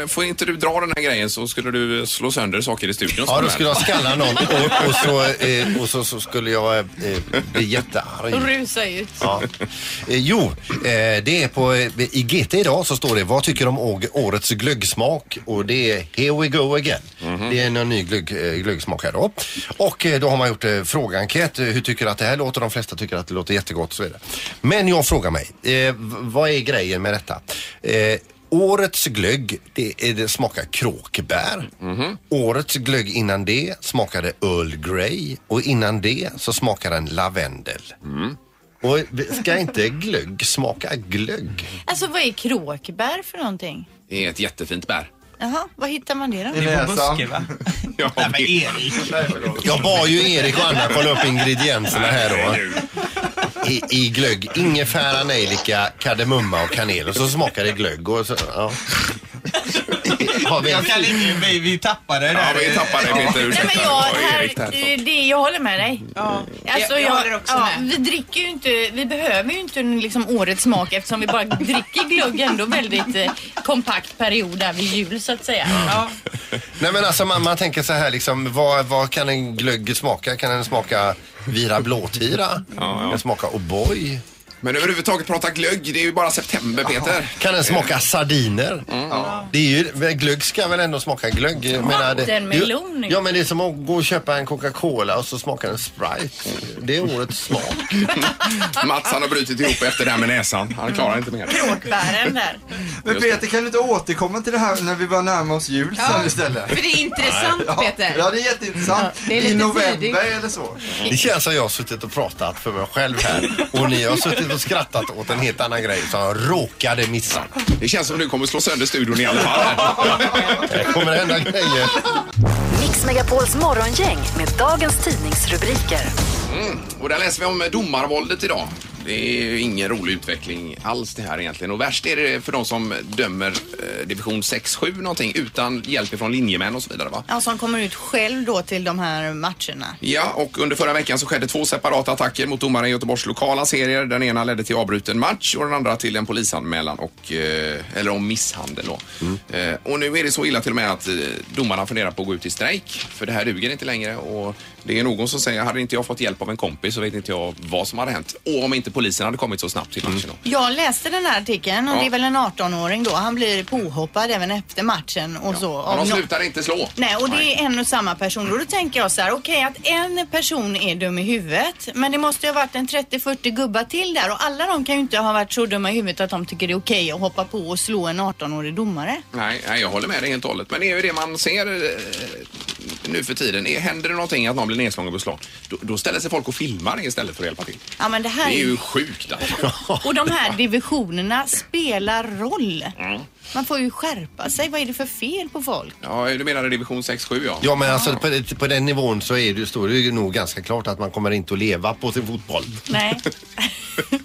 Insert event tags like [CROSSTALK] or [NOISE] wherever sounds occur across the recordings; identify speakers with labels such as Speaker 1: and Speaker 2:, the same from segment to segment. Speaker 1: Eh, Får inte du dra den här grejen så skulle du slå sönder saker i studion.
Speaker 2: Ja, då skulle jag skalla någon och, och, så, eh, och så, så skulle jag eh, bli jättearg.
Speaker 3: Rusa ut.
Speaker 2: Ja. [LAUGHS] Eh, jo, eh, det är på eh, i GT idag så står det vad tycker du om å- årets glöggsmak? Och det är here we go again. Det är någon ny glögg, eh, glöggsmak här då. Och eh, då har man gjort eh, frågeenkät. eh, Hur tycker du att det här låter? De flesta tycker att det låter jättegott och så vidare. Men jag frågar mig, eh, v- vad är grejen med detta? Eh, Årets glögg, det, är- det smakar kråkbär. Årets glögg innan det smakade Earl Grey och innan det så smakade den lavendel. Och ska inte glögg smaka glögg?
Speaker 3: Alltså vad är kråkbär för någonting?
Speaker 1: Det är ett jättefint bär.
Speaker 3: Jaha, var hittar man det då?
Speaker 4: Mm.
Speaker 5: Det är på buske va?
Speaker 1: Ja,
Speaker 5: Nej men Erik.
Speaker 2: Jag bad ju Erik och Anna kolla upp ingredienserna här då. I, i glögg, ingefära, nejlika, kardemumma och kanel. Och så smakar det glögg. Och så, ja. Har vi en,
Speaker 5: Jag kan inte, vi, vi tappade det
Speaker 1: ja
Speaker 5: där.
Speaker 1: vi tappade det Peter.
Speaker 3: Nej
Speaker 1: Ursäkta.
Speaker 3: men jag,
Speaker 1: Det var Erik
Speaker 3: här,
Speaker 1: där.
Speaker 3: det, det, jag håller med dig. Ja, alltså,
Speaker 6: jag håller också med.
Speaker 3: Vi dricker ju inte, vi behöver ju inte en, liksom årets smak eftersom vi bara dricker glögg ändå väldigt eh, kompakt period där vid jul så att säga. Ja.
Speaker 2: nej men alltså man, man tänker så här liksom, vad, vad kan en glögg smaka? Kan den smaka Vira blåtira? Kan den smaka O'boy?
Speaker 1: Men överhuvudtaget prata glögg, det är ju bara september Peter.
Speaker 2: Kan den smaka sardiner? Det är ju, glögg ska väl ändå smaka glögg? Jag menar, det-
Speaker 3: Vattenmelon.
Speaker 2: Ja men det är som att gå och köpa en Coca-Cola och så smakar den Sprite. Det är årets smak.
Speaker 1: Mats han har brutit ihop efter det här med näsan. Han klarar inte mer.
Speaker 3: Kråkbären där.
Speaker 4: Men Peter, kan du inte återkomma till det här när vi börjar närma oss jul sen istället?
Speaker 6: För det är intressant Peter.
Speaker 4: Ja, det är jätteintressant.
Speaker 6: det är lite
Speaker 4: I november
Speaker 6: tidigt.
Speaker 4: eller så.
Speaker 2: Det känns som jag har suttit och pratat för mig själv här och ni har suttit och skrattat åt en helt annan grej som jag råkade missa.
Speaker 1: Det känns som du kommer slå sönder studion i alla fall.
Speaker 2: Det kommer hända grejer.
Speaker 7: Mix Megapols morgongäng med dagens tidningsrubriker.
Speaker 1: Mm. Och där läser vi om domarvåldet idag. Det är ju ingen rolig utveckling alls det här egentligen. Och värst är det för de som dömer eh, division 6-7 någonting utan hjälp från linjemän och så vidare va?
Speaker 3: Ja, som kommer ut själv då till de här matcherna.
Speaker 1: Ja, och under förra veckan så skedde två separata attacker mot domare i Göteborgs lokala serier. Den ena ledde till avbruten match och den andra till en polisanmälan och, eh, eller om misshandel då. Eh, Och nu är det så illa till och med att eh, domarna funderar på att gå ut i strejk för det här duger inte längre och det är någon som säger, hade inte jag fått hjälp av en kompis så vet inte jag vad som hade hänt. Och om inte polisen hade kommit så snabbt till matchen då.
Speaker 3: Jag läste den här artikeln och
Speaker 1: Ja.
Speaker 3: det är väl en 18-åring då. Han blir påhoppad även efter matchen och så. av
Speaker 1: Men de
Speaker 3: nå-
Speaker 1: slutar inte slå.
Speaker 3: Nej, och det
Speaker 1: Nej.
Speaker 3: är en och samma person. Och då tänker jag så här, okej att en person är dum i huvudet, men det måste ju ha varit en 30-40 gubbar till där och alla de kan ju inte ha varit så dumma i huvudet att de tycker det är okej att hoppa på och slå en 18-årig domare.
Speaker 1: Nej, nej, jag håller med dig helt och hållet. Men det är ju det man ser eh, nu för tiden. Är- Händer det någonting att någon blir nedslagen på slag, då, då ställer sig folk och filmar istället för att hjälpa till.
Speaker 3: Ja, men det här
Speaker 1: Det är
Speaker 3: är
Speaker 1: ju sjukt alltså.
Speaker 3: Och de här divisionerna spelar roll.
Speaker 1: Mm.
Speaker 3: Man får ju skärpa sig. Vad är det för fel på folk?
Speaker 1: Ja, du menade division 6-7 ja.
Speaker 2: Ja men alltså på, på den nivån så är det, står det ju nog ganska klart att man kommer inte att leva på sin fotboll.
Speaker 1: [LAUGHS]
Speaker 3: Nej.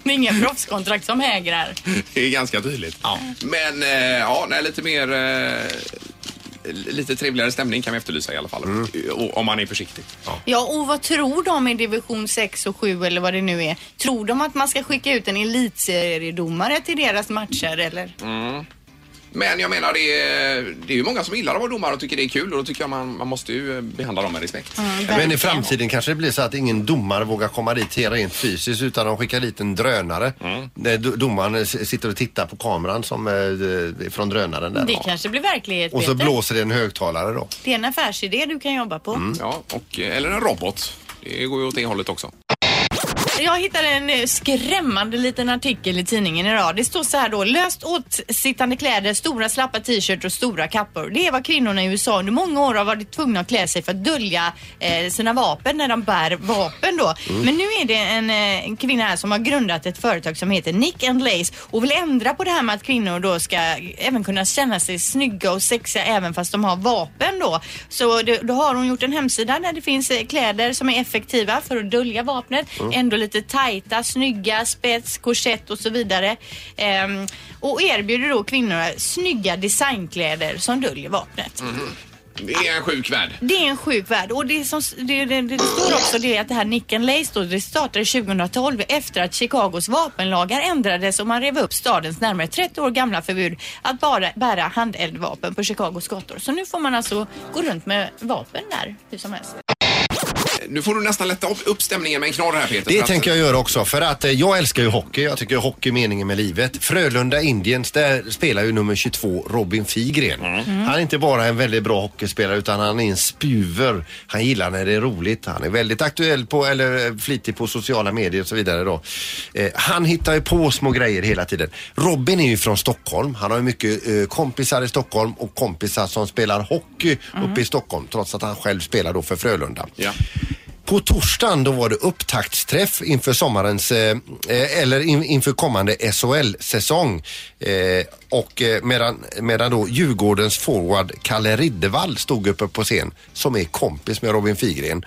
Speaker 3: Det är inga proffskontrakt som hägrar.
Speaker 1: [LAUGHS] Det är ganska tydligt. Men eh, ja, nej, lite mer... Eh, lite trevligare stämning kan vi efterlysa i alla fall. Eh, Och, om man är försiktig.
Speaker 3: Ja, och vad tror de i division 6 och 7 eller vad det nu är? Tror de att man ska skicka ut en elitseriedomare till deras matcher eller?
Speaker 2: Mm.
Speaker 1: Men jag menar, det är, det är ju många som gillar att vara domare och tycker det är kul och då tycker jag man, man måste ju eh, behandla dem med respekt.
Speaker 3: Mm.
Speaker 2: Men i framtiden kanske det blir så att ingen domare vågar komma dit helt rent fysiskt utan de skickar dit en drönare. Där do- Domaren s- sitter och tittar på kameran som, eh, från drönaren där.
Speaker 3: Det kanske blir verklighet
Speaker 2: Och så
Speaker 3: Peter.
Speaker 2: blåser det en högtalare då.
Speaker 3: Det är en affärsidé du kan jobba
Speaker 2: Mm.
Speaker 3: på.
Speaker 1: Ja, och, eller en robot. Det går ju åt det hållet också.
Speaker 3: Jag hittade en eh, skrämmande liten artikel i tidningen idag. Det står så här då. Löst åtsittande kläder, stora slappa t-shirt och stora kappor. Det är vad kvinnorna i USA under många år har varit tvungna att klä sig för att dölja eh, sina vapen när de bär vapen då. Men nu är det en, eh, en kvinna här som har grundat ett företag som heter Nick and Lace och vill ändra på det här med att kvinnor då ska även kunna känna sig snygga och sexiga även fast de har vapen då. Så det, då har hon gjort en hemsida där det finns eh, kläder som är effektiva för att dölja vapnet. Ändå lite tajta, snygga, spets, korsett och så vidare. Ehm, och erbjuder då kvinnor snygga designkläder som döljer vapnet.
Speaker 1: Det är en sjuk värld.
Speaker 3: Det är en sjuk värld och det som det, det, det står också det är att det här Nick and Lace då, det startade 2012 efter att Chicagos vapenlagar ändrades och man rev upp stadens närmare 30 år gamla förbud att bara bära handeldvapen på Chicagos gator. Så nu får man alltså gå runt med vapen där hur som helst.
Speaker 1: Nu får du nästan lätta upp, upp stämningen med en knorr här Peter.
Speaker 2: Det
Speaker 1: för att-
Speaker 2: tänker jag göra också för att eh, jag älskar ju hockey. Jag tycker hockey är meningen med livet. Frölunda Indiens, där spelar ju nummer 22 Robin Figren. Mm. Han är inte bara en väldigt bra hockeyspelare utan han är en spjuver. Han gillar när det är roligt. Han är väldigt aktuell på, eller eh, flitig på sociala medier och så vidare då. Eh, han hittar ju på små grejer hela tiden. Robin är ju från Stockholm. Han har ju mycket eh, kompisar i Stockholm och kompisar som spelar hockey uppe i Stockholm trots att han själv spelar då för Frölunda.
Speaker 1: Ja.
Speaker 2: På torsdagen då var det upptaktsträff inför sommarens eh, eh, eller in, inför kommande SHL-säsong. Eh, och eh, medan, medan då Djurgårdens forward Kalle Riddervall stod uppe på scen som är kompis med Robin Figren.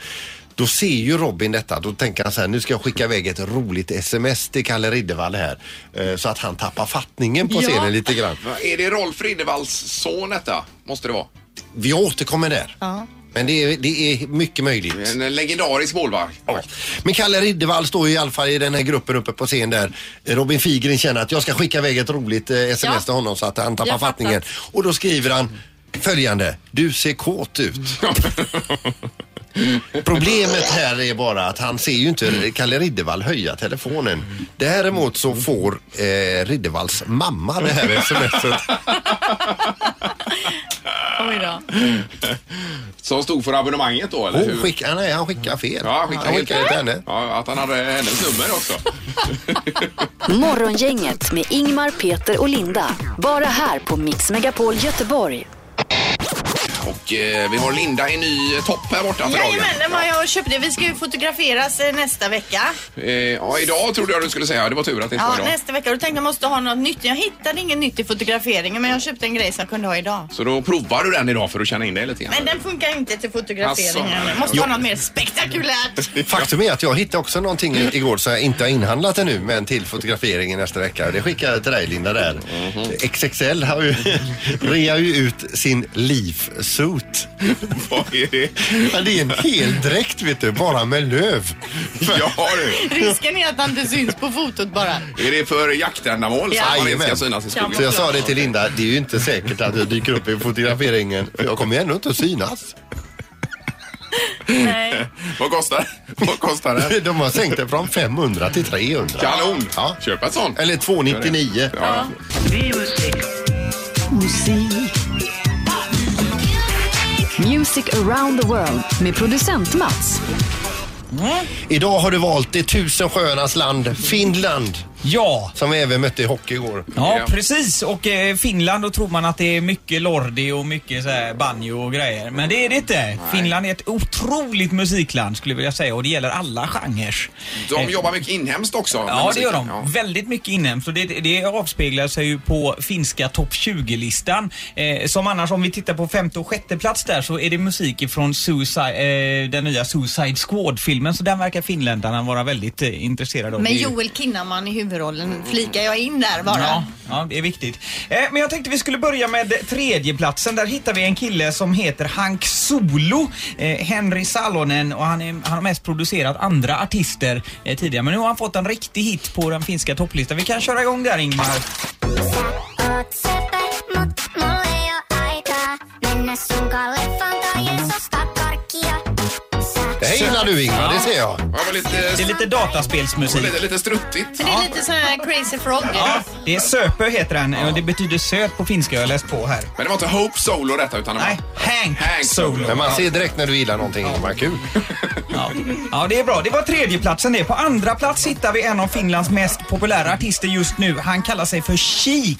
Speaker 2: Då ser ju Robin detta. Då tänker han så här, nu ska jag skicka iväg ett roligt sms till Kalle Riddervall här. Eh, så att han tappar fattningen på
Speaker 3: Ja.
Speaker 2: scenen lite grann.
Speaker 1: Va, Är det Rolf Riddervalls son detta? Måste det vara.
Speaker 2: Vi återkommer där.
Speaker 3: Ja.
Speaker 2: Men det är, det är mycket möjligt.
Speaker 1: En legendarisk målvakt.
Speaker 2: Ja. Men Kalle Riddervall står ju i alla fall i den här gruppen uppe på scen där. Robin Figren känner att jag ska skicka iväg ett roligt eh, sms
Speaker 3: Ja.
Speaker 2: till honom så att han tappar
Speaker 3: Jag fattar.
Speaker 2: fattningen. Och då skriver han följande. Du ser kåt
Speaker 3: [LAUGHS]
Speaker 2: ut. Problemet här är bara att han ser ju inte Kalle Riddervall höja telefonen. Däremot så får eh, Riddervalls mamma det här smset.
Speaker 3: Oj då.
Speaker 1: Som stod för abonnemanget då eller
Speaker 2: Hon
Speaker 1: hur?
Speaker 2: skickar, nej han skickar fel.
Speaker 1: Ja, skicka
Speaker 2: han skickar det till henne.
Speaker 1: Ja, att han hade hennes nummer
Speaker 2: [LAUGHS]
Speaker 1: också.
Speaker 7: Morgongänget med Ingmar, Peter och Linda. Bara här på Mix Megapol Göteborg.
Speaker 1: Och eh, vi har Linda i ny eh, topp här borta för dagen.
Speaker 3: Jajamän, den var jag och köpte. Vi ska ju fotograferas eh, nästa vecka.
Speaker 1: Eh, ja, idag trodde jag du skulle säga. Det var tur att det inte
Speaker 3: Ja,
Speaker 1: var idag.
Speaker 3: nästa vecka. Då tänkte jag måste ha något nytt. Jag hittade inget nytt i fotograferingen men jag köpte en grej som jag kunde ha idag.
Speaker 1: Så då provar du den idag för att känna in dig lite grann.
Speaker 3: Men den funkar ju inte till fotograferingen.
Speaker 1: Alltså.
Speaker 3: måste ha något mer spektakulärt.
Speaker 2: Faktum är att jag hittade också någonting igår som jag inte har inhandlat ännu men till fotograferingen nästa vecka. Det skickar jag till dig Linda där. XXL har ju, [LAUGHS] rear ju ut sin leaf suit.
Speaker 1: [LAUGHS] Vad är det?
Speaker 2: Ja, det är en hel dräkt vet du, bara med löv.
Speaker 1: Ja, du.
Speaker 3: Risken är att han inte syns på fotot bara.
Speaker 1: Är det för jaktändamål så att man inte ska
Speaker 2: Jajamän.
Speaker 1: synas i
Speaker 2: Så
Speaker 1: skogen?
Speaker 2: jag sa det till Linda, det är ju inte säkert att jag dyker upp i fotograferingen för jag kommer ju ändå inte att synas. [LAUGHS]
Speaker 3: Nej.
Speaker 1: Vad kostar, [LAUGHS] vad kostar det?
Speaker 2: De har sänkt det från 500 till 300.
Speaker 1: Kanon!
Speaker 2: Ja.
Speaker 1: Köp en sån.
Speaker 2: Eller 299.
Speaker 1: Ja.
Speaker 7: Music around the world med producent Mats.
Speaker 2: Idag har du valt det tusen sjöarnas land, Finland.
Speaker 5: Ja.
Speaker 2: Som vi även mötte i hockey igår.
Speaker 5: Ja,
Speaker 1: Ja.
Speaker 5: precis. Och eh, Finland, då tror man att det är mycket lordi och mycket så här, banjo och grejer. Men det är det inte. Finland är ett otroligt musikland skulle jag vilja säga och det gäller alla genrer.
Speaker 1: De jobbar mycket inhemskt också. med
Speaker 5: Ja, det gör de.
Speaker 1: musiken. Ja.
Speaker 5: Väldigt mycket inhemskt och det, det avspeglar sig ju på finska topp 20-listan. Eh, som annars, om vi tittar på femte och sjätte plats där så är det musik från Suicide, eh, den nya Suicide Squad-filmen. Så den verkar finländarna vara väldigt eh, intresserade av. Det
Speaker 3: Med
Speaker 5: är ju-
Speaker 3: Joel Kinnaman i huvudrollen flikar jag in där bara.
Speaker 5: Ja, ja, det är viktigt. Eh, men jag tänkte vi skulle börja med tredjeplatsen. Där hittar vi en kille som heter Hank Solo. Eh, Henry Salonen och han, är, han har mest producerat andra artister eh, tidigare. Men nu har han fått en riktig hit på den finska topplistan. Vi kan köra igång där Ingmar.
Speaker 8: Sä oot söpö, mut mulla ei oo aikaa mennä sunkaan leffaan tai edes ostaa karkkia. Sä
Speaker 2: Det här gillar du Ingvar, det ser jag.
Speaker 1: Det var
Speaker 5: Det är
Speaker 1: lite,
Speaker 5: lite dataspelsmusik.
Speaker 1: lite, lite struttigt.
Speaker 3: Så det är lite sån här crazy frog.
Speaker 5: Ja, det är Söpö heter den och det betyder söt på finska. Jag har läst på här.
Speaker 1: Men det var inte Hope Solo detta utan det var...
Speaker 5: Nej, Hank,
Speaker 1: Hank Solo.
Speaker 5: Solo.
Speaker 2: Men man ser direkt när du gillar någonting Ingvar, kul.
Speaker 5: Ja. ja, det är bra. Det var tredjeplatsen det. På andra plats hittar vi en av Finlands mest populära artister just nu. Han kallar sig för Chic.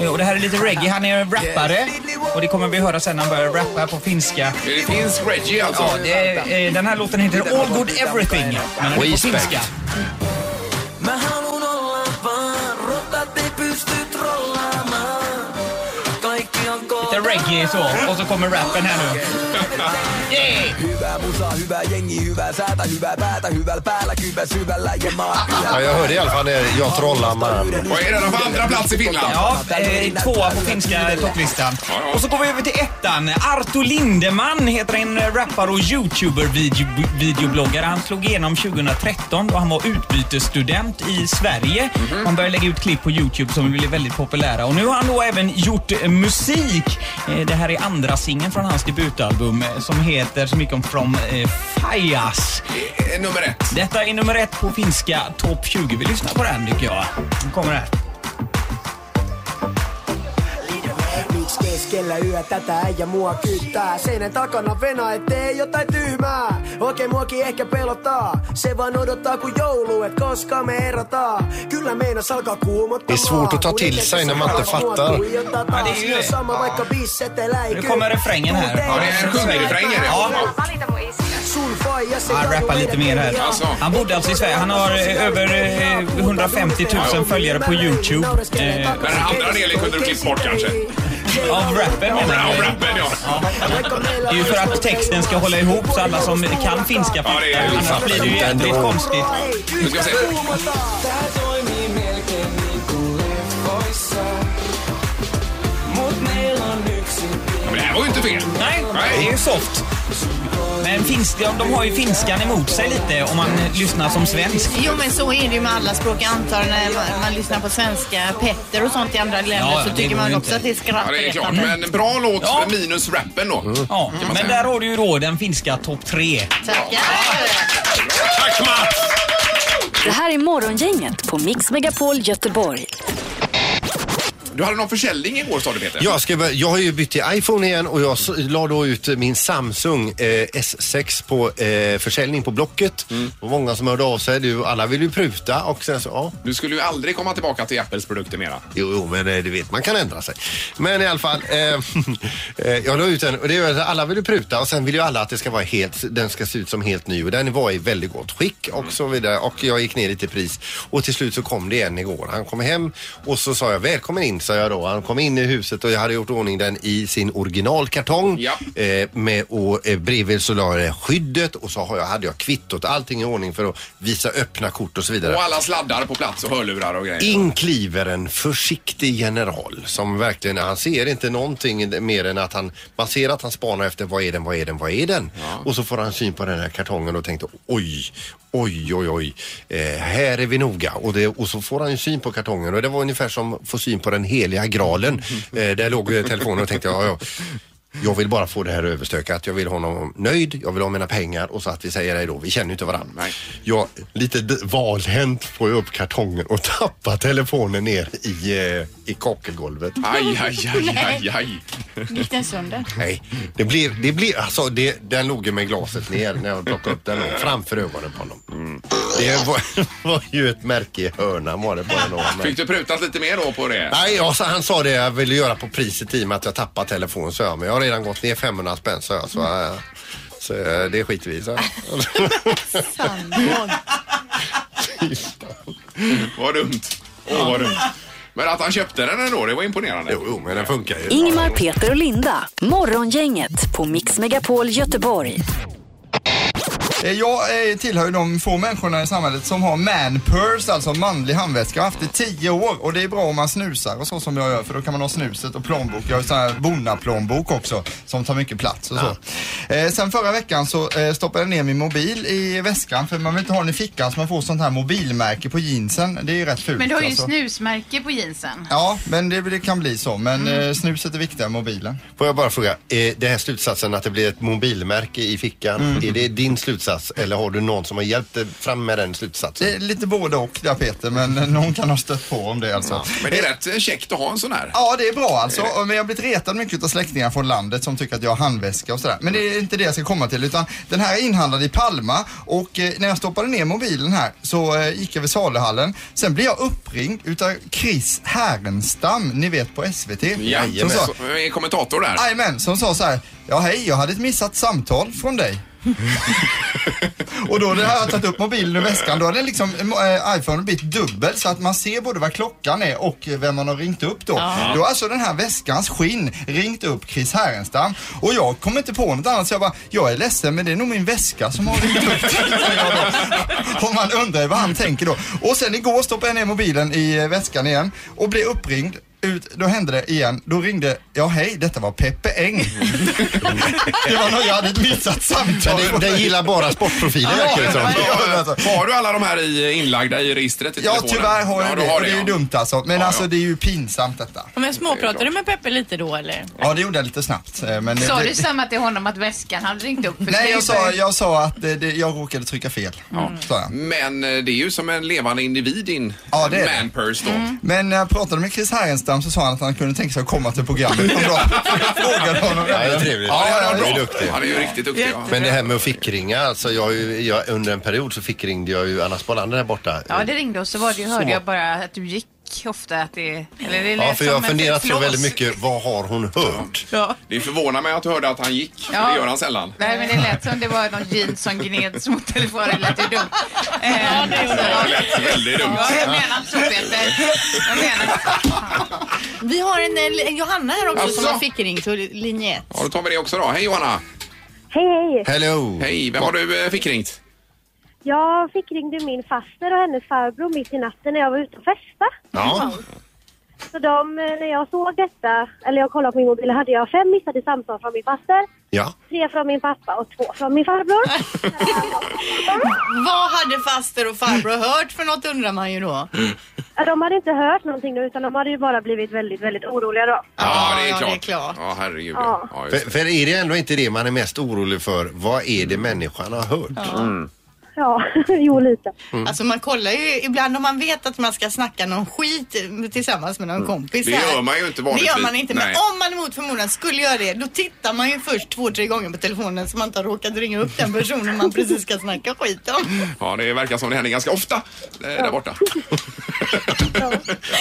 Speaker 5: Eh, Och det här är lite reggae. Han är en rappare. Och det kommer vi höra sen när han börjar rappa här på finska.
Speaker 1: Det finns Reggie alltså.
Speaker 5: Ja, det är, eh, den här låten heter All Good Everything. Men den är på
Speaker 2: Respect.
Speaker 5: finska.
Speaker 9: Mä haluun olla vaan, rotat ei pysty trollaamaan. Kaikki on
Speaker 5: Lite reggae så. Och så kommer rappen här nu.
Speaker 9: Hyvää musaa, hyvää jengi, hyvää säätä, hyvää päätä, hyvällä päällä, kypäs hyvällä ja maa.
Speaker 2: Ja, jag hörde i alla fall när jag trollar man.
Speaker 1: Och är redan på andra plats i Finland.
Speaker 5: Ja, eh, tvåa på finska topplistan. Och så går vi över till ettan. Arto Lindeman heter en eh, rappare och youtuber-videobloggare. Han slog igenom 2013 då han var utbytesstudent i Sverige. Han började lägga ut klipp på Youtube som blev väldigt populära. Och nu har han då även gjort eh, musik. Eh, Det här är andra singeln från hans debutalbum eh, som heter så mycket om From eh, Fajas.
Speaker 1: Eh, Nummer ett.
Speaker 5: Detta är nummer ett på finska topp 20. Vi lyssnar på den tycker jag. Den kommer här.
Speaker 9: Miksi keskellä yö tätä ja mua kyttää? Seinän takana venä ettei jotain tyhmää. Okei, muakin ehkä pelottaa. Se vaan odottaa kun joulu, et koska me erotaan. Kyllä meinas alkaa kuumottamaan.
Speaker 2: Det är svårt att ta till sig när man inte fattar.
Speaker 5: Ja, det är ju det.
Speaker 9: Samma vaikka bisset elää
Speaker 5: Nu kommer refrängen här.
Speaker 1: Ja, det är en sjungrefräng är det.
Speaker 5: Ja.
Speaker 9: Sun faija se
Speaker 5: Han rappar lite mer här.
Speaker 1: Alltså.
Speaker 5: Han bodde alltså i Sverige. Han har eh, över eh, 150 000 följare på Youtube. Eh,
Speaker 1: Men den andra delen kunde du klippt bort kanske.
Speaker 5: av rappen menar
Speaker 1: Bra,
Speaker 5: jag.
Speaker 1: rappen ja.
Speaker 5: Det är ju för att texten ska hålla ihop så alla som kan finska
Speaker 1: Ja, det är
Speaker 5: fattar.
Speaker 1: ju
Speaker 5: Annars
Speaker 1: sant.
Speaker 5: blir det ju jävligt konstigt.
Speaker 1: Nu ska vi se.
Speaker 9: Tää toimii melkein niinku leffoissa. Mut meillä on yksi
Speaker 1: Ja, Men det här var ju inte fel.
Speaker 5: Nej, det är ju soft. Men finns, de, de har ju finskan emot sig lite om man lyssnar som svensk.
Speaker 3: Jo men så är det ju med alla språk. Jag antar när man, man lyssnar på svenska Petter och sånt i andra länder
Speaker 5: Ja, ja,
Speaker 3: så
Speaker 5: det
Speaker 3: tycker
Speaker 5: går
Speaker 3: man
Speaker 5: ju
Speaker 3: också
Speaker 5: inte.
Speaker 3: att det är
Speaker 1: Ja, det är klart.
Speaker 3: skrattretande.
Speaker 1: Men bra låt
Speaker 5: Ja. Mm.
Speaker 1: minus rappen då.
Speaker 5: Ja,
Speaker 1: Kan man
Speaker 5: men
Speaker 1: säga.
Speaker 5: där har du ju då den finska topp tre.
Speaker 3: Tackar!
Speaker 1: Tack Mats!
Speaker 7: Det här är Morgongänget på Mix Megapol Göteborg.
Speaker 1: Du hade någon försäljning igår sa du Peter.
Speaker 2: Jag, ska, börja- jag har ju bytt till iPhone igen och jag s- la då ut eh, min Samsung eh, S6 på eh, försäljning på Blocket. Och många som hörde av sig. Du, alla vill ju pruta och sen så, ja.
Speaker 1: Du skulle ju aldrig komma tillbaka till Apples produkter mera.
Speaker 2: Jo, jo, men eh, du vet, man kan ändra sig. Men i alla fall, eh, [LAUGHS] eh, jag la ut den och det är ju att alla vill ju pruta och sen vill ju alla att det ska vara helt, den ska se ut som helt ny och den var i väldigt gott skick och så vidare och jag gick ner lite i pris och till slut så kom det en igår. Han kom hem och så sa jag välkommen in, sa jag då. Han kom in i huset och jag hade gjort ordning den i sin originalkartong.
Speaker 1: Ja.
Speaker 2: Eh, med, och eh, bredvid så la jag det skyddet och så har jag, hade jag kvittot, allting i ordning för att visa öppna kort och så vidare.
Speaker 1: Och alla sladdar på plats och hörlurar och grejer.
Speaker 2: In kliver en försiktig general som verkligen, han ser inte någonting mer än att han, man ser att han spanar efter vad är den, vad är den, vad är den? Och så får han syn på den här kartongen och tänkte oj, oj, oj, oj, eh, här är vi noga. Och, det, och så får han ju syn på kartongen och det var ungefär som få syn på den heliga graalen. Eh, där låg eh, telefonen och tänkte ja, ja. Jag vill bara få det här överstökat. Jag vill ha honom nöjd, jag vill ha mina pengar och så att vi säger det då. Vi känner ju inte varandra.
Speaker 1: Nej.
Speaker 2: Jag, lite d- valhänt får jag upp kartongen och [LAUGHS] tappar telefonen ner i, eh, i kakelgolvet.
Speaker 1: Aj, aj, aj, aj, aj.
Speaker 3: Gick den sönder?
Speaker 2: Nej, det blir, det blir, alltså det, den låg ju med glaset ner när jag plockade upp den och framför ögonen på honom. Det var, [LAUGHS] var ju ett märke i hörnan var det på den. här. Men-
Speaker 1: Fick du prutat lite mer då på det?
Speaker 2: Nej, jag, sa- han sa det jag ville göra på priset i och med att jag tappade telefonen, så jag. Men jag har redan gått ner 500 spänn, så jag. Så, eh, så eh, det skiter vi i, så. [LAUGHS]
Speaker 3: Sandhåll.
Speaker 1: Vad dumt. Åh, vad dumt. Men att han köpte den ändå, det var imponerande.
Speaker 2: Jo, jo, men den funkar ju.
Speaker 7: Ingmar, Peter och Linda. Morgongänget på Mix Megapol Göteborg.
Speaker 4: Eh, Jag eh, tillhör ju de få människorna i samhället som har man purse, alltså manlig handväska. Jag har haft det i tio år och det är bra om man snusar och så som jag gör för då kan man ha snuset och plånbok. Jag har ju sån här bonnaplånbok också som tar mycket plats och så. Eh, sen förra veckan så eh, stoppade jag ner min mobil i väskan för man vill inte ha den i fickan så man får sånt här mobilmärke på jeansen. Det är ju rätt fult.
Speaker 6: Men du har ju
Speaker 4: alltså.
Speaker 6: snusmärke på jeansen.
Speaker 4: Ja, men det, det kan bli så. Men
Speaker 6: Mm.
Speaker 4: eh, snuset är viktigare än mobilen.
Speaker 2: Får jag bara fråga, eh, den här slutsatsen att det blir ett mobilmärke i fickan, är det din slutsats eller har du någon som har hjälpt dig fram med den slutsatsen?
Speaker 4: Det är lite både och där Peter, men eh, någon kan ha stött på om det alltså.
Speaker 1: Men det är rätt käckt att ha en sån här.
Speaker 4: Ja, det är bra alltså. Men jag har blivit retad mycket av släktingar från landet som tycker att jag har handväska och sådär. Men det är inte det jag ska komma till utan den här är inhandlad i Palma och eh, när jag stoppade ner mobilen här så eh, gick jag vid saluhallen. Sen blev jag uppringd utav Chris Härenstam, ni vet på SVT.
Speaker 1: Jajamän.
Speaker 4: som sa,
Speaker 1: Så, är kommentator där.
Speaker 4: Jajamän, som sa så här. Ja hej, jag hade ett missat samtal från dig. Och då när jag har tagit upp mobilen ur väskan, då har den liksom, eh, iPhone blivit dubbel så att man ser både vad klockan är och vem man har ringt upp då. Då har alltså den här väskans skinn ringt upp Chris Härenstam och jag kom inte på något annat så jag bara, jag är ledsen men det är nog min väska som har ringt upp. [LAUGHS] Så jag bara, och man undrar ju vad han tänker då. Och sen igår stoppade jag ner mobilen i eh, väskan igen och blev uppringd. Ut, då hände det igen. Då ringde, ja hej, detta var Peppe Eng. [LAUGHS] det var någon jag hade missat
Speaker 2: Men den,
Speaker 4: samtal.
Speaker 2: den gillar bara sportprofiler verkar det som.
Speaker 1: Har du alla de här i, inlagda i registret i
Speaker 4: alltså. Ja
Speaker 1: telefonen?
Speaker 4: tyvärr har jag
Speaker 1: Ja, du
Speaker 4: det.
Speaker 1: har
Speaker 4: och det är ju
Speaker 1: ja.
Speaker 4: dumt alltså. Men
Speaker 1: Ja, ja.
Speaker 4: alltså det är ju pinsamt detta.
Speaker 3: Men småpratar du med Peppe lite då eller?
Speaker 4: Ja det gjorde jag lite snabbt. eh, Men
Speaker 6: Sa
Speaker 4: det-
Speaker 6: du samma till honom att väskan hade ringt upp? För
Speaker 4: Nej
Speaker 6: det är
Speaker 4: jag
Speaker 6: ju
Speaker 4: sa,
Speaker 6: för-
Speaker 4: jag sa att eh, det, jag råkade trycka fel. Sa jag.
Speaker 1: Men eh, det är ju som en levande individ din
Speaker 4: Ja, det Mm. är det.
Speaker 1: manpurse då.
Speaker 4: Men när jag pratade med Chris Härenstam så sa han att han kunde tänka sig att komma till programmet någon [LAUGHS] dag. Jag frågade honom
Speaker 2: Ja, det är
Speaker 4: det.
Speaker 2: trevligt.
Speaker 1: Ja, det är
Speaker 2: Du
Speaker 1: bra.
Speaker 2: är duktig.
Speaker 1: Han är ju riktigt duktig. Ja.
Speaker 2: Men det här med att fickringa, alltså jag, har ju- jag, under en period så fickringde jag ju Anna Spolander där borta.
Speaker 6: Ja, det ringde och så var det, ju- hörde
Speaker 2: Så.
Speaker 6: jag bara att du gick ofta. Att det, eller det
Speaker 2: Ja,
Speaker 6: lät
Speaker 2: för jag har
Speaker 6: som ett
Speaker 2: funderat så
Speaker 6: flås.
Speaker 2: väldigt mycket, vad har hon hört?
Speaker 6: Ja.
Speaker 1: Det förvånar mig att du hörde att han gick.
Speaker 6: Ja.
Speaker 1: Det gör han sällan.
Speaker 6: Nej, men det lät som det var någon jeans som gneds mot telefonen. Det lät ju dumt. Eh,
Speaker 3: Ja, det gjorde det.
Speaker 1: Det lät väldigt dumt.
Speaker 6: Ja, jag menar inte så Peter. Jag menar
Speaker 3: Vi har en, eh, en Johanna här också
Speaker 1: Jaså?
Speaker 3: som har fickringt och linje ett.
Speaker 1: Ja, då tar vi det också då. Hej Johanna!
Speaker 10: Hej, hej!
Speaker 2: Hello!
Speaker 1: Hej, vem har du eh, fick ringt?
Speaker 10: Jag fick ringde min faster och hennes farbror mitt i natten när jag var ute och festa.
Speaker 2: Ja.
Speaker 10: Så de, eh, när jag såg detta, eller jag kollade på min mobil, hade jag fem missade samtal från min faster,
Speaker 2: ja.
Speaker 10: tre från min pappa och två från min farbror.
Speaker 3: Vad hade faster och farbror hört för något undrar man ju då.
Speaker 10: Ja, de hade inte hört någonting nu utan de hade ju bara blivit väldigt, väldigt oroliga då.
Speaker 1: Ja,
Speaker 3: ja, det är klart.
Speaker 1: Ja, herregud. Ja.
Speaker 10: Ja.
Speaker 1: Ja, just
Speaker 2: För, för är det ändå inte det man är mest orolig för? Vad är det människan har hört?
Speaker 10: Ja, jo lite.
Speaker 1: Mm.
Speaker 3: Alltså man kollar ju ibland om man vet att man ska snacka någon skit eh, tillsammans med någon kompis.
Speaker 1: Mm. Det
Speaker 3: här.
Speaker 1: gör man ju inte
Speaker 3: Det
Speaker 1: vanligtvis.
Speaker 3: gör man inte, men
Speaker 1: Nej.
Speaker 3: om man mot förmodan skulle göra det, då tittar man ju först två, tre gånger på telefonen så man inte har råkat ringa upp den personen man precis ska snacka skit om.
Speaker 1: Ja, det verkar som det händer ganska ofta eh, där borta.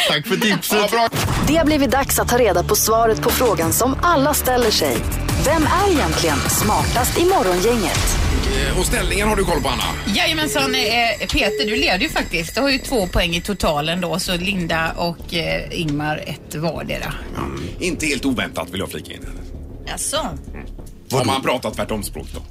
Speaker 2: Tack för tipset!
Speaker 1: Ja, bra.
Speaker 7: Det har blivit dags att ta reda på svaret på frågan som alla ställer sig. Vem är egentligen smartast i Morgongänget?
Speaker 1: Eh, Och ställningen har du koll på, Anna?
Speaker 6: Jajamensan, eh, Peter du leder ju faktiskt. Du har ju två poäng i totalen då, så Linda och eh, Ingmar ett vardera.
Speaker 1: Inte helt oväntat vill jag flika in.
Speaker 3: Jaså?
Speaker 1: Om man pratar tvärtomspråk då.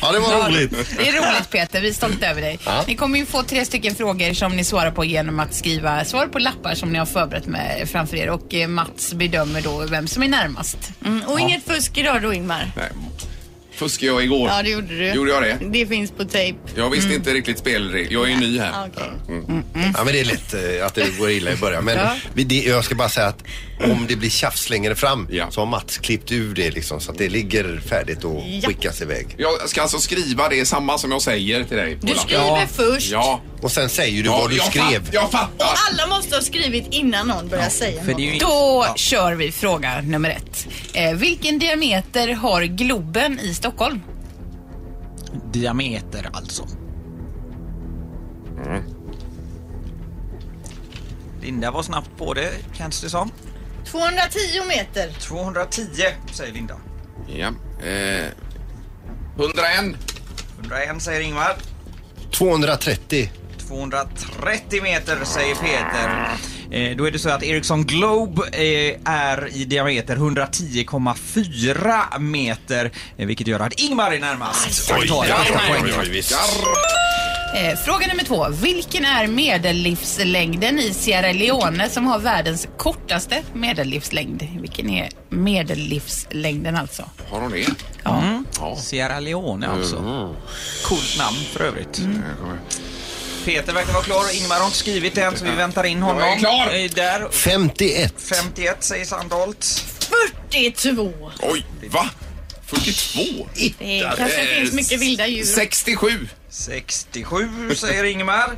Speaker 2: Ja, det var roligt.
Speaker 6: Det är roligt Peter, vi är stolta över dig.
Speaker 2: Ja.
Speaker 6: Ni kommer ju få tre stycken frågor som ni svarar på genom att skriva svar på lappar som ni har förberett med framför er och eh, Mats bedömer då vem som är närmast.
Speaker 3: Mm, och inget fusk idag då Ingmar?
Speaker 1: Nej. Fuskade jag igår.
Speaker 3: Ja, det gjorde du.
Speaker 1: Gjorde jag det?
Speaker 3: Det finns på tejp.
Speaker 1: Jag visste inte riktigt spelregler. Jag är ny
Speaker 3: Ah,
Speaker 1: här.
Speaker 3: okej.
Speaker 2: Ja, men det är lätt eh, att det går illa i början. Men vi, det, jag ska bara säga att om det blir tjafs längre fram
Speaker 1: Ja.
Speaker 2: så har Mats klippt ur det liksom så att det ligger färdigt och skickas iväg.
Speaker 1: Jag ska alltså skriva det samma som jag säger till dig.
Speaker 3: Du
Speaker 1: Ola.
Speaker 3: skriver
Speaker 1: ja.
Speaker 3: först.
Speaker 1: Ja.
Speaker 2: Och sen säger du vad du
Speaker 1: jag
Speaker 2: skrev.
Speaker 1: Fatt, jag fattar.
Speaker 3: Alla måste ha skrivit innan någon börjar säga något.
Speaker 6: Då kör vi fråga nummer ett. Eh, vilken diameter har Globen i Stockholm?
Speaker 5: Diameter alltså.
Speaker 1: Mm.
Speaker 5: Linda var snabbt på det, känns det som.
Speaker 3: 210 meter.
Speaker 5: 210 säger Linda.
Speaker 1: Ja. Eh, 101.
Speaker 5: 101 säger Ingmar.
Speaker 2: 230.
Speaker 5: 230 meter säger Peter. Eh, då är det så att Ericsson Globe eh, är i diameter 110,4 meter eh, vilket gör att Ingmar är närmast. Och tar ett extra poäng.
Speaker 6: Eh, fråga nummer två. Vilken är medellivslängden i Sierra Leone som har världens kortaste medellivslängd? Vilken är medellivslängden alltså?
Speaker 1: Har hon det?
Speaker 5: Sierra Leone alltså.
Speaker 1: Mm.
Speaker 5: Coolt namn för övrigt. Mm. Peter verkar vara klar och Ingmar har inte skrivit än så vi väntar in honom.
Speaker 1: Jag är klar.
Speaker 5: Eh, Där.
Speaker 2: 51.
Speaker 5: 51 säger Sandholt.
Speaker 3: 42.
Speaker 1: Oj, va? 42?
Speaker 3: Det kanske
Speaker 1: Eh,
Speaker 3: finns mycket vilda djur.
Speaker 1: 67.
Speaker 5: 67 säger Ingmar.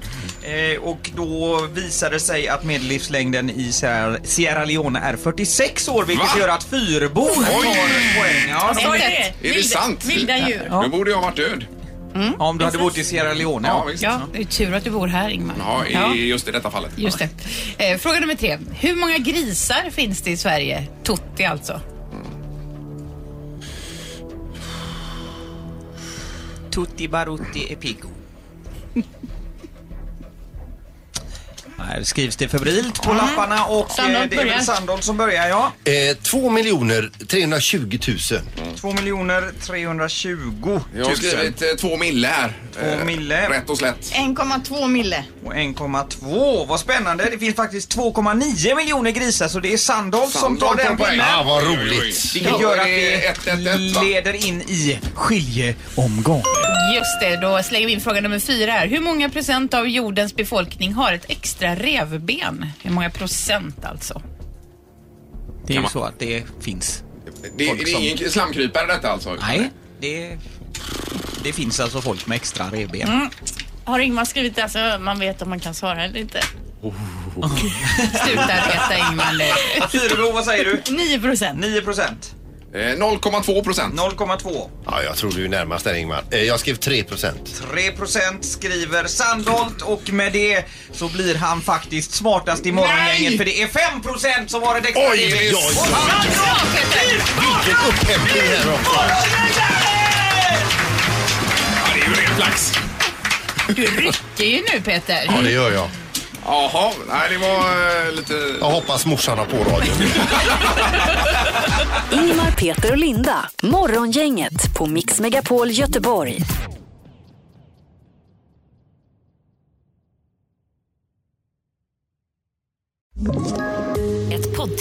Speaker 5: Eh, och då visar det sig att medellivslängden i Sierra- Sierra Leone är 46 år vilket
Speaker 1: Va?
Speaker 5: gör att fyrbon tar poäng. Ja,
Speaker 3: Vad är det?
Speaker 1: det
Speaker 3: Vilda-
Speaker 1: sant?
Speaker 3: Vilda djur.
Speaker 1: Nu borde jag varit död.
Speaker 5: ja, om du hade bott i Sierra Leone.
Speaker 1: Ja,
Speaker 5: Ja.
Speaker 1: visst.
Speaker 6: Ja, det är tur att du bor här Ingmar.
Speaker 1: Ja, i,
Speaker 6: Ja,
Speaker 1: just i detta fallet.
Speaker 6: just det. Eh, fråga nummer tre. Hur många grisar finns det i Sverige? Totti alltså.
Speaker 5: Tutti Barutti e Piggo. Här skrivs det febrilt på lapparna och eh,
Speaker 11: Sandholt
Speaker 5: det är
Speaker 11: börjar.
Speaker 5: väl Sandholt som börjar, ja.
Speaker 2: Eh, 2 miljoner 320 000.
Speaker 5: 2 miljoner 320
Speaker 1: Jag har skrivit eh, två mille här.
Speaker 5: Två mille.
Speaker 1: Rätt och slätt.
Speaker 12: 1,2 mille.
Speaker 5: Och 1,2. Vad spännande. Det finns faktiskt 2,9 miljoner grisar så det är Sandholt som tar den pinnen.
Speaker 2: Ah, vad roligt.
Speaker 5: Vilket gör att
Speaker 1: det
Speaker 5: det
Speaker 1: ett, ett, ett, va?
Speaker 5: leder in i skiljeomgång.
Speaker 3: Just det, då slänger vi in fråga nummer fyra här. Hur många procent av jordens befolkning har ett extra revben? Hur många procent alltså?
Speaker 5: Det
Speaker 1: Kan
Speaker 5: är ju
Speaker 1: man-
Speaker 5: så att det finns.
Speaker 1: Det,
Speaker 5: Folk
Speaker 1: det är
Speaker 5: som-
Speaker 1: ingen slamkrypare detta alltså?
Speaker 5: Nej, det, det finns alltså folk med extra revben.
Speaker 12: Mm. Har Ingmar skrivit det så man vet om man kan svara eller inte?
Speaker 3: Sluta reta
Speaker 12: [LAUGHS]
Speaker 3: Ingmar nu.
Speaker 5: Fyrebo, vad säger du?
Speaker 12: 9 procent.
Speaker 5: 9 procent.
Speaker 1: Eh, 0,2 procent.
Speaker 5: 0,2.
Speaker 2: Ja, jag tror du är närmast där Ingmar. Eh, jag skrev 3 procent.
Speaker 5: 3 procent skriver Sandholt och med det så blir han faktiskt smartast i morgongänget
Speaker 1: Nej!
Speaker 5: för det är 5 procent som har ett extra
Speaker 2: Oj,
Speaker 5: revben.
Speaker 2: oj, oj.
Speaker 5: Och han tar
Speaker 2: Vilken upphämtning här också.
Speaker 1: Ja, det är ju ren flax.
Speaker 3: Du rycker ju nu Peter.
Speaker 2: Ja, det gör jag.
Speaker 1: Jaha, nej det var eh, lite...
Speaker 2: Jag hoppas morsan har på radion.
Speaker 7: Ingmar, Peter och Linda. Morgongänget på Mix Megapol Göteborg. Ett